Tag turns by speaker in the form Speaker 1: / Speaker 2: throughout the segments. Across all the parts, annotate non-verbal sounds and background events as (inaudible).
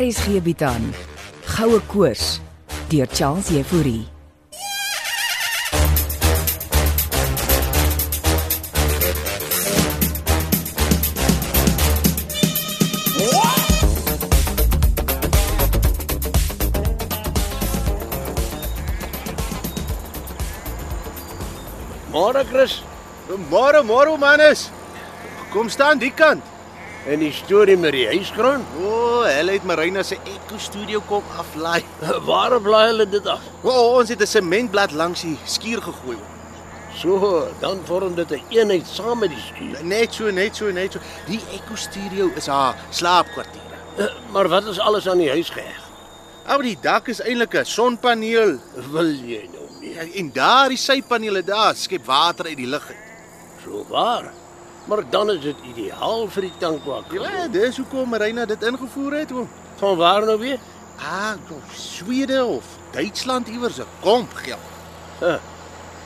Speaker 1: RSG bied aan Goue Koors deur Charles Jefouri.
Speaker 2: Môre Chris,
Speaker 3: Môre, môre mannes. Kom staan die kant.
Speaker 2: en die storie met die (laughs) huisgrond.
Speaker 3: O, oh, hulle het Marina se Echo Studio kom aflaai.
Speaker 2: Waarom blaai hulle dit af?
Speaker 3: O, oh, ons het 'n sementblad langs die skuur gegooi.
Speaker 2: So, dan vorm dit 'n eenheid saam met die skuur.
Speaker 3: Net so, net so, net so. Die Echo Studio is haar slaapkwartier.
Speaker 2: Eh, (laughs) Maar wat is alles aan die huis geheg?
Speaker 3: Ou die dak is eintlik 'n sonpaneel
Speaker 2: Wil jy nou meer?
Speaker 3: en daardie sypanele daar skep water uit die lug uit.
Speaker 2: So waar. Maar dan is dit ideaal vir die tankwak.
Speaker 3: Ja, dis hoekom Marina dit ingevoer het oom.
Speaker 2: Van waar nou weer?
Speaker 3: Ah, of Swede of Duitsland iewers 'n komp geld.
Speaker 2: Eh,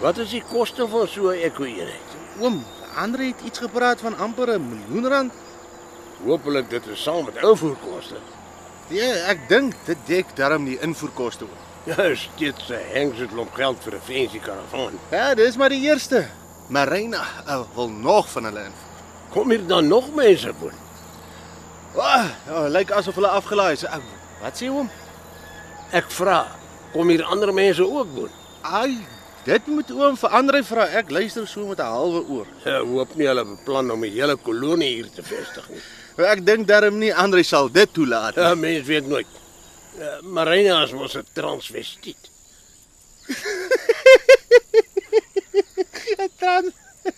Speaker 2: Wat is die koste van so 'n ekoeenheid?
Speaker 3: Oom, Andre het iets gepraat van amper 'n miljoen rand.
Speaker 2: Hoopelik dit is saam met invoerkoste.
Speaker 3: Ja, ek dink dit dek darm die invoerkoste op.
Speaker 2: Ja, steeds 'n hengse klomp geld vir 'n fancy karavaan.
Speaker 3: Ja, dis maar die eerste. Marina uh, wil nog van hulle in.
Speaker 2: Kom hier dan nog mense woon?
Speaker 3: Wag, oh, oh, lyk asof hulle afgelaai is. Uh, wat sê hom?
Speaker 2: Ek vra, kom hier ander mense ook woon?
Speaker 3: Ai, dit moet oom vir Andre vra. Ek luister so met 'n halwe oor.
Speaker 2: Ja, Ek hoop nie hulle beplan om 'n hele kolonie hier te vestig nie.
Speaker 3: Ek dink darm nie Andre sal dit toelaat nie.
Speaker 2: Ja, mens weet nooit. Uh, Marina is mos 'n transvestiet.
Speaker 3: Trans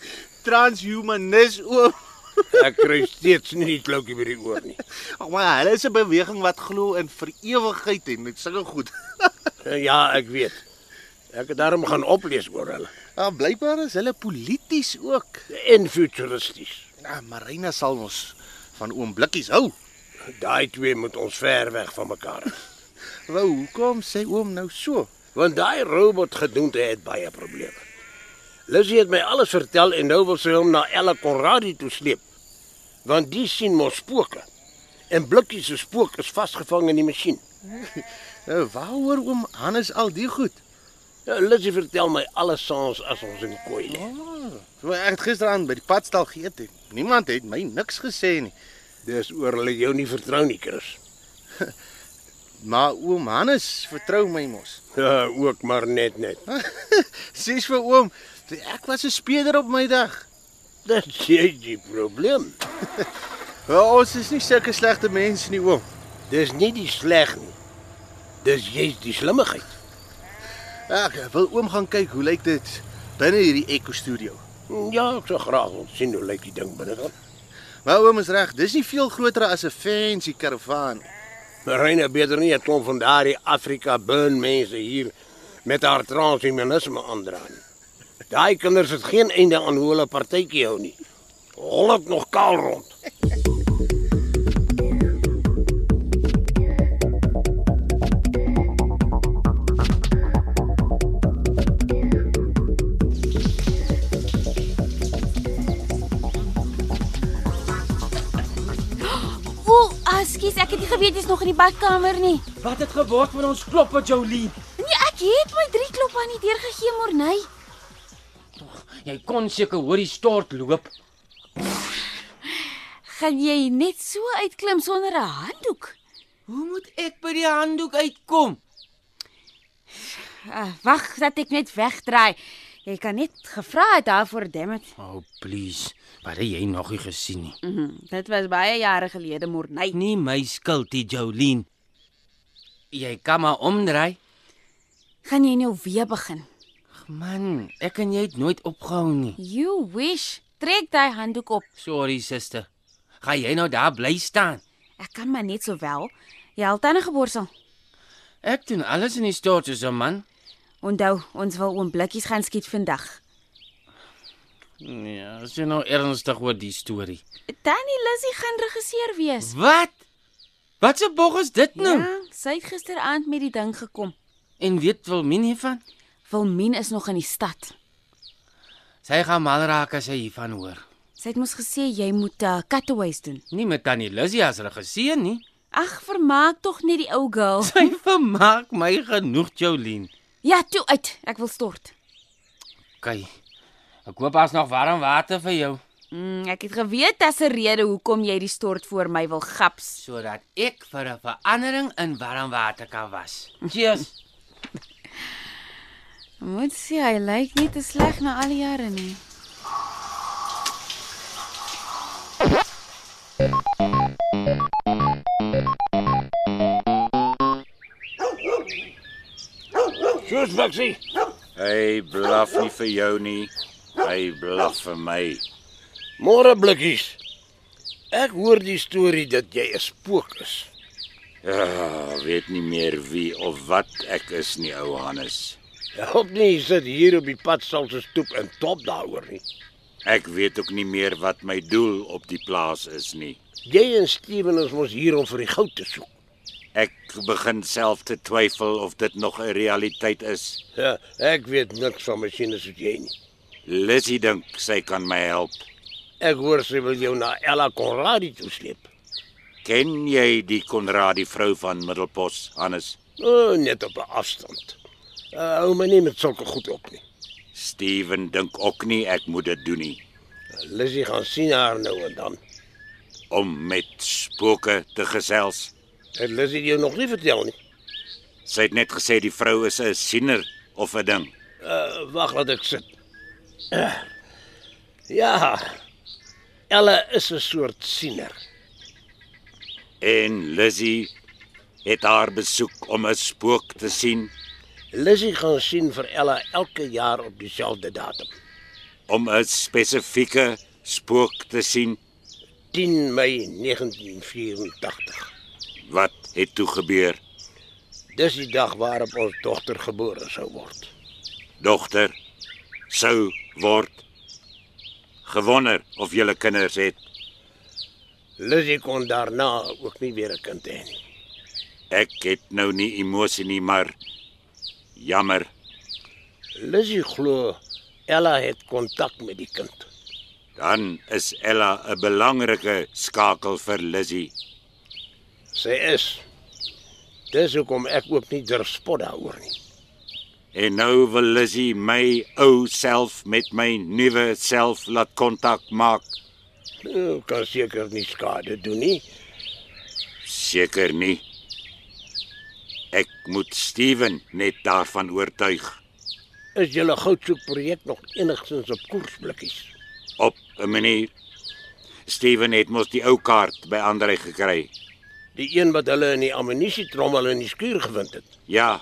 Speaker 3: (laughs) transhumanis oom.
Speaker 2: Ek kry steeds nie die kloukie by die oor nie.
Speaker 3: Oh, maar hulle is 'n beweging wat glo in vir ewigheid en dit sulke goed.
Speaker 2: Uh, ja, ek weet. Ek het daarom gaan oplees oor hulle.
Speaker 3: Ja, blykbaar is hulle polities ook.
Speaker 2: En futuristies.
Speaker 3: Ja, Marina sal ons van oom Blikkies hou.
Speaker 2: Daai twee moet ons ver weg van mekaar. hou.
Speaker 3: Wou, hoekom sê oom nou so?
Speaker 2: Want daai robot gedoente het baie probleme. Lizzie het my alles vertel en nou wil sy hom na Ella Conradie toe sleep. Want die sien mos spooke. En Blikkie se spook is vasgevang in die masjien.
Speaker 3: Nou, waaroor oom Hannes al die goed?
Speaker 2: Nou, Lizzie vertel my alles saans as ons in die kooi lê.
Speaker 3: So ek het gisteraand by die padstal geëet en niemand het my niks gesê nie.
Speaker 2: Dis oor hulle jou nie vertrou nie, Chris. (laughs)
Speaker 3: Maar oom Hannes vertrou my mos. (laughs)
Speaker 2: Ja, ook maar net net.
Speaker 3: Sies vir oom, ek was 'n speeder op my dag.
Speaker 2: Dit is die probleem.
Speaker 3: Wel, Ja, ons is nie sulke slegte mense nie, oom.
Speaker 2: Dis nie die sleg nie. Dis jy's die slimmigheid.
Speaker 3: Ek wil oom gaan kyk hoe lyk dit binne hierdie Echo Studio.
Speaker 2: Ja, ek sou graag wil sien hoe lyk die ding binne dan.
Speaker 3: Maar oom is reg, dis nie veel groter as 'n fancy karavaan nie.
Speaker 2: Marina beter nie 'n klomp van daardie Afrika burn mense hier met haar transhumanisme aandra nie. Daai kinders het geen einde aan hoe hulle partytjie hou nie. Hol dit nog kaal rond.
Speaker 4: Woe, askies, ah, ek het nie geweet jy's nog in die badkamer nie.
Speaker 5: Wat het geword van ons kloppe, Jolien?
Speaker 4: Nee, ek het my drie klop aan die deur gegee môrney.
Speaker 5: Jy kon seker hoor die stort loop.
Speaker 4: Gaan jy net so uitklim sonder 'n handdoek?
Speaker 5: Hoe moet ek by die handdoek uitkom?
Speaker 4: Uh, Wag, dat ek net wegdraai. Jy kan net gevra het daarvoor, dammit.
Speaker 5: Oh, please. Wat het jy nog nie gesien nie?
Speaker 4: Mm -hmm, dit was baie jare gelede môrney.
Speaker 5: Nie my skuld, die Jolien. Jy kan maar omdraai.
Speaker 4: Gaan jy nou weer begin?
Speaker 5: Ag man, ek en jy het nooit opgehou nie.
Speaker 4: You wish. Trek daai handdoek op.
Speaker 5: Sorry, suster. Gaan jy nou daar bly staan?
Speaker 4: Ek kan maar net sowel. Jy het tande geborsel.
Speaker 5: Ek doen alles in die stort soos 'n man.
Speaker 4: Onthou, ons wil oom blikkies gaan skiet vandag.
Speaker 5: Nee, as jy nou ernstig oor die storie.
Speaker 4: Tannie Lissy gaan regisseur wees.
Speaker 5: Wat? Wat 'n bog is dit nou?
Speaker 4: Ja, sy het gisteraand met die ding gekom.
Speaker 5: En weet Wilmien hiervan?
Speaker 4: Wilmien is nog in die stad.
Speaker 5: Sy gaan mal raak as sy hiervan hoor.
Speaker 4: Sy het mos gesê jy moet uh, cutaways doen.
Speaker 5: (laughs) Nie met tannie Lizzie as regisseur nie.
Speaker 4: Ag, vermaak tog net die ou (laughs) girl.
Speaker 5: Sy vermaak my genoeg, Jolien.
Speaker 4: Ja, toe uit. Ek wil stort.
Speaker 5: OK. Ek koop as nog warm water vir jou
Speaker 4: Mm, ek het geweet daar's 'n rede hoekom jy die stort voor my wil gaps.
Speaker 5: sodat ek vir 'n verandering in warm water kan was. Cheers.
Speaker 4: Moet sê hy lyk nie te sleg na al die jare nie.
Speaker 2: Soos Buxie.
Speaker 6: Hy blaf nie vir jou nie. Hy blaf vir my.
Speaker 2: Môre blikkies. Ek hoor die storie dat jy 'n spook is.
Speaker 6: Ja, weet nie meer wie of wat ek is nie, ou Hannes.
Speaker 2: Help nie jy sit hier op die pad sal se stoep en top daaroor nie.
Speaker 6: Ek weet ook nie meer wat my doel op die plaas is nie.
Speaker 2: Jy en Steven is mos hier om vir die goud te soek.
Speaker 6: Ek begin self te twyfel of dit nog 'n realiteit is.
Speaker 2: Ja, ek weet niks van masjiene soos jy nie.
Speaker 6: Lizzie dink sy kan my help.
Speaker 2: Ek hoor sy wil jou na Ella Conradi toe sleep.
Speaker 6: Ken jy die Konradie vrou van Middelpos, Hannes?
Speaker 2: O, oh, net op 'n afstand. Uh, hou my nie met sulke goed op nie.
Speaker 6: Steven dink ook nie ek moet dit doen nie
Speaker 2: Lizzie gaan sien haar nou en dan.
Speaker 6: om met spooke te gesels.
Speaker 2: Het Lizzie jou nog nie vertel nie?
Speaker 6: Sy het net gesê die vrou is 'n siener of 'n ding.
Speaker 2: Uh, Wag laat ek sit. Eh, ja. Ella is 'n soort siener.
Speaker 6: En Lizzy het haar besoek om 'n spook te sien,
Speaker 2: Lizzie gaan sien vir Ella elke jaar op dieselfde datum.
Speaker 6: om 'n spesifieke spook te sien.
Speaker 2: 10 Mei 1984.
Speaker 6: Wat het toe gebeur?
Speaker 2: Dis die dag waarop ons dogter gebore sou word.
Speaker 6: Dogter sou word gewonder of julle kinders het.
Speaker 2: Lizzie kon daarna ook nie weer 'n kind hê nie.
Speaker 6: Ek het nou nie emosie nie, maar jammer.
Speaker 2: Lizzie glo Ella het kontak met die kind.
Speaker 6: Dan is Ella 'n belangrike skakel vir Lizzy.
Speaker 2: Sy is. Dis hoekom ek ook nie durf spot daaroor nie.
Speaker 6: En nou wil Lizzy my ou self met my nuwe self laat kontak maak.
Speaker 2: Nou, kan seker nie skade doen nie.
Speaker 6: Seker nie. Ek moet Steven net daarvan oortuig
Speaker 2: Is julle goudsoekprojek nog enigstens op koers blikkies?
Speaker 6: op 'n manier. Steven het mos die ou kaart by Andrei gekry.
Speaker 2: Die een wat hulle in die ammunisietrommel in die skuur gevind het.
Speaker 6: Ja.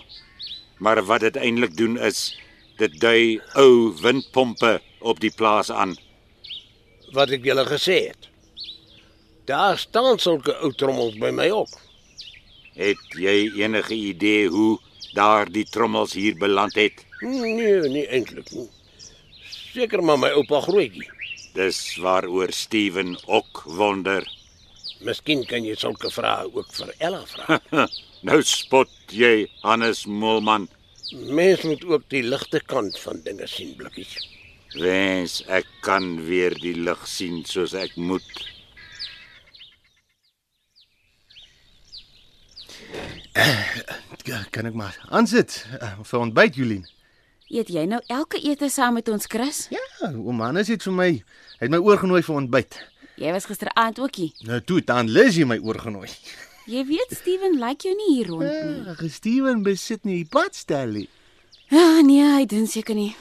Speaker 6: Maar wat dit eintlik doen is dit dui ou windpompe op die plaas aan.
Speaker 2: Wat ek julle gesê het. Daar staan sulke ou trommels by my ook.
Speaker 6: Het jy enige idee hoe daardie trommels hier beland het?
Speaker 2: Nee, nie eintlik nie. Seker maar my oupa grootjie.
Speaker 6: Dis waaroor Steven ook wonder. (laughs)
Speaker 2: Miskien kan jy sulke vrae ook vir Ella vra.
Speaker 6: Nou spot jy Hannes Moelman.
Speaker 2: Mens moet ook die ligte kant van dinge sien blikkies.
Speaker 6: Wens ek kan weer die lig sien soos ek moet.
Speaker 3: Ja, kan ek maar aansit eh, vir ontbyt, Julien.
Speaker 4: Eet jy nou elke ete saam met ons, Chris?
Speaker 3: Ja, oom Hannes het vir my, hy het my oorgenooi vir ontbyt.
Speaker 4: Jy was gisteraand ook hier.
Speaker 3: Nou toe, dan Lizzy my oorgenooi.
Speaker 4: Jy weet Steven lyk jou nie hier rond nie.
Speaker 3: Ja, Steven besit nie die padstellie.
Speaker 4: Ja, nee, hy doen seker nie.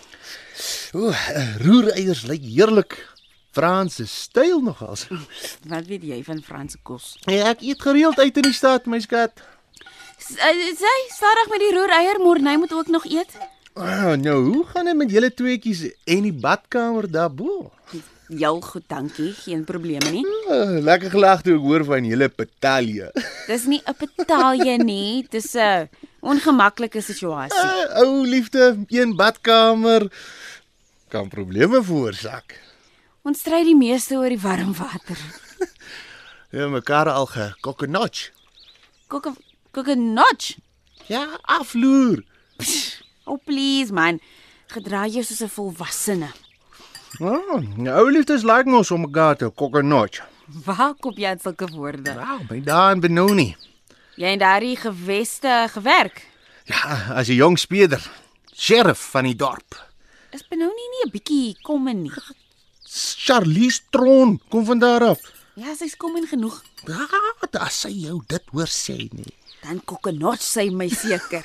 Speaker 3: Ooh, eh, roereiers lyk heerlik. Franse styl nogals.
Speaker 4: Wat weet jy van Franse kos?
Speaker 3: Ja, ek eet gereeld uit in die stad, my skat.
Speaker 4: S- eh, Sy, stadig met die roereier, Morney moet ook nog eet.
Speaker 3: Oh, nou, hoe gaan dit met julle tweeetjies en die badkamer daarbo?
Speaker 4: Heel goed, dankie. Geen probleme nie.
Speaker 3: Oh, lekker gelag toe ek hoor van julle Petalia.
Speaker 4: Dis nie 'n betalje nie, dis 'n ongemaklike situasie.
Speaker 3: Ou liefde, een badkamer kan probleme veroorsaak.
Speaker 4: Ons stry die meeste oor die warm water.
Speaker 3: Ja, mekaar al gekokkenotch.
Speaker 4: Kook kook 'n notch.
Speaker 3: Ja, afloer.
Speaker 4: Oh please man, gedra jou soos 'n volwassene.
Speaker 3: Oh, nou liefdes lyk like mos om mekaar te kokkenotch.
Speaker 4: Waar kom jy aan sulke woorde?
Speaker 3: Nou, by daan Benoni.
Speaker 4: Jy en daardie geweste gewerk.
Speaker 3: Ja, as 'n jong speeder, sheriff van die dorp.
Speaker 4: Is benou nie nie 'n bietjie kom en nie.
Speaker 3: Charlies Tron kom van daar af.
Speaker 4: Ja, sy's kom en genoeg.
Speaker 3: Ja, as sy jou dit hoor sê nie.
Speaker 4: Dan kokkenot sy my seker.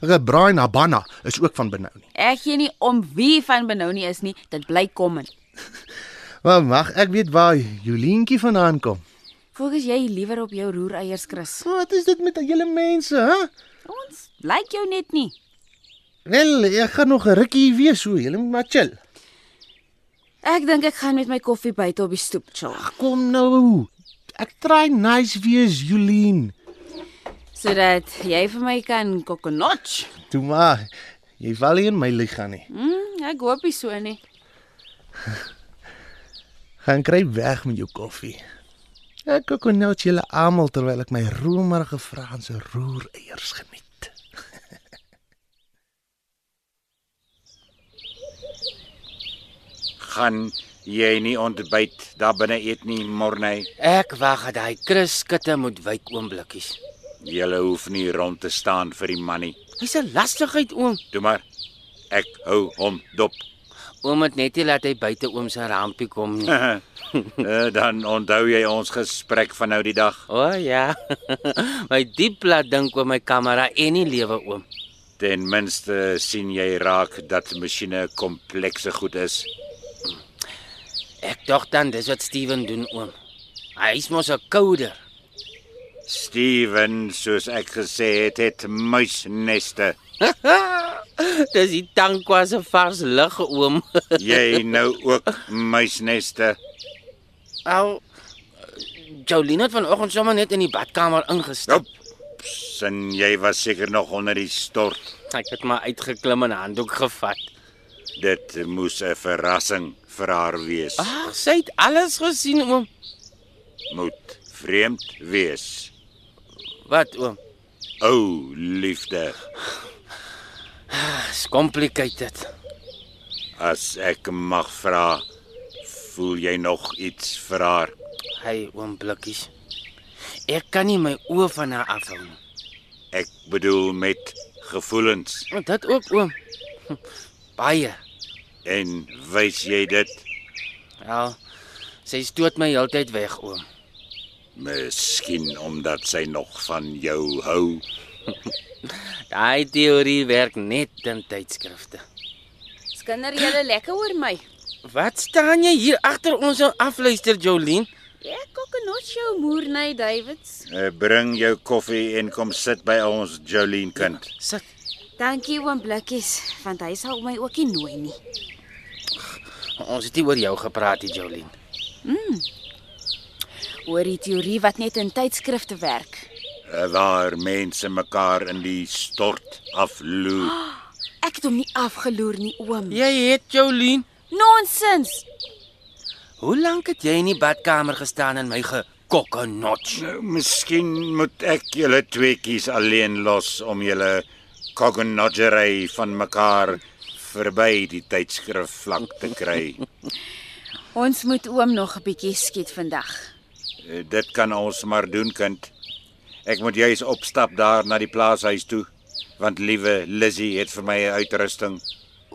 Speaker 3: Ek Brian Habana is ook van benou nie.
Speaker 4: Ek gee nie om wie van benou nie is nie. Dit bly kom en.
Speaker 3: Maar mag ek weet waar Julientjie vandaan kom?
Speaker 4: Fokus jy liewer op jou roereiers, Chris.
Speaker 3: Wat is dit met julle mense, hè?
Speaker 4: Ons lyk jou net nie.
Speaker 3: Wel, ek gaan nog 'n rukkie hier wees, so julle moet maar chill.
Speaker 4: Ek dink ek gaan met my koffie buite op die stoep chill.
Speaker 3: Kom nou. Ek try nice wees, Julien.
Speaker 4: sodat jy vir my kan kokkenotch.
Speaker 3: Toe maar, jy val nie in my liggaam nie.
Speaker 4: Mm, ek hoop nie so nie.
Speaker 3: Gaan kry weg met jou koffie. Ek kook nou julle almal terwyl ek my romerige Franse roereiers geniet.
Speaker 6: Gaan jy nie ontbyt daar binne eet nie, Morney?
Speaker 5: Ek wag dat daai Chris skutte moet wyk oomblikkies.
Speaker 6: Jy hoef nie rond te staan vir die man nie.
Speaker 5: Hy's 'n lastigheid oom.
Speaker 6: Toe maar. Ek hou hom dop. (laughs)
Speaker 5: Oom het net nie laat hy buite oom se rampie kom nie.
Speaker 6: Eh, Dan onthou jy ons gesprek van nou die dag.
Speaker 5: (laughs) O oh, ja. (laughs) my diep laat dink oor my kamera en die lewe oom.
Speaker 6: Ten minste sien jy raak dat masjiene komplekse goed is.
Speaker 5: Ek dink dan dis wat Steven doen oom. Hy's mos 'n kouder.
Speaker 6: Steven, soos ek gesê het, het muisneste.
Speaker 5: Dis die tankwa se vars lig oom. (laughs)
Speaker 6: Jy nou ook muisneste.
Speaker 5: Ou Jolien het vanoggend sommer net in die badkamer ingestap.
Speaker 6: Nope. Nou, Sin jy was seker nog onder die stort.
Speaker 5: Ek het maar uitgeklim en 'n handdoek gevat.
Speaker 6: Dit moes 'n verrassing vir haar wees.
Speaker 5: Ag, Ah, sy het alles gesien oom.
Speaker 6: Moet vreemd wees.
Speaker 5: Wat oom?
Speaker 6: O, liefde,
Speaker 5: Dis complicated.
Speaker 6: as ek mag vra, voel jy nog iets vir haar?
Speaker 5: Hy oom blikkies. Ek kan nie my oë van haar afhou nie.
Speaker 6: Ek bedoel met gevoelens.
Speaker 5: Maar Dit Oh, ook oom. Hm, Baie.
Speaker 6: En wys jy dit?
Speaker 5: Ja. Sy stoot my heeltyd weg oom.
Speaker 6: Miskien omdat sy nog van jou hou.
Speaker 5: Daai teorie werk net in tydskrifte.
Speaker 4: Skinder jy lekker oor my?
Speaker 5: Wat staan jy hier agter ons en afluister Jolien?
Speaker 4: Ek kokkenotch jou moernay Davids.
Speaker 6: Eh, Bring jou koffie en kom sit by ons, Jolien kind.
Speaker 5: Sit.
Speaker 4: Dankie oom Blikkies, want hy sal my ook nie nooi nie.
Speaker 5: Ons het nie oor jou gepraat nie Jolien.
Speaker 4: Oor die teorie wat net in tydskrifte werk.
Speaker 6: Eh, Waar mense mekaar in die stort afloer.
Speaker 4: Ek het hom nie afgeloer nie oom.
Speaker 5: Jy het Jolien.
Speaker 4: Nonsens.
Speaker 5: Hoe lank het jy in die badkamer gestaan en my gekokkenotch?
Speaker 6: (gasps) Nou, miskien moet ek julle tweeetjies alleen los om julle cognogery van mekaar verby die tydskrif vlak te (laughs) kry.
Speaker 4: Ons moet oom nog 'n bietjie skiet vandag.
Speaker 6: Eh, Dit kan ons maar doen, kind. Ek moet juis opstap daar na die plaashuis toe, want liewe Lizzy het vir my 'n uitrusting,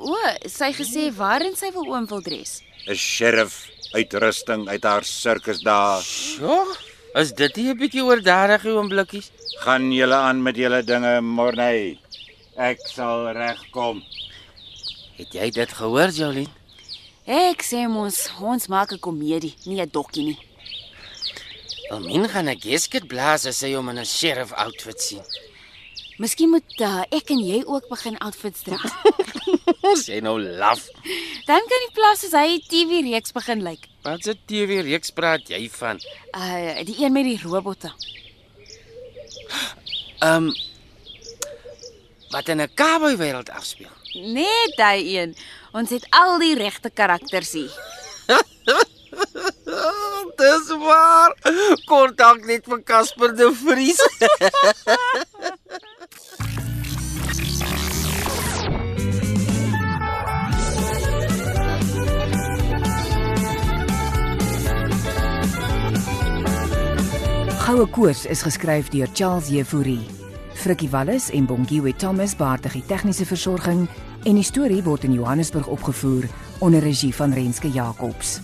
Speaker 4: O, sy gesê waarin sy wil oom wil dres.
Speaker 6: 'n sheriff uitrusting uit haar sirkusdae.
Speaker 5: Ja, is dit nie 'n bietjie oordadig oom blikkies?
Speaker 6: Gaan julle aan met julle dinge, Morney. Ek sal regkom.
Speaker 5: Het jy dit gehoor Jolien?
Speaker 4: Ek sê mos ons maak 'n komedie, nie 'n dokkie nie.
Speaker 5: Almin gaan 'n gesket blaas as sy hom in 'n sheriff outfit sien.
Speaker 4: Miskien moet uh, ek en jy ook begin outfits (laughs) dra.
Speaker 5: Ons sê nou laf.
Speaker 4: Dan kan die plas soos hy TV reeks begin lyk.
Speaker 5: Wat 'n TV reeks praat jy van?
Speaker 4: Uh die een met die robotte.
Speaker 5: Ehm um, wat in 'n cowboy wêreld afspeel.
Speaker 4: Net daai een. Ons het al die regte karakters hier.
Speaker 5: Dis waar. Kort dalk net vir Casper de Vries.
Speaker 1: Goue Koors is geskryf deur Charles Jefouri. Frikkie Wallis en Bongiwe Thomas baartig die tegniese versorging en die storie word in Johannesburg opgevoer onder regie van Renske Jacobs.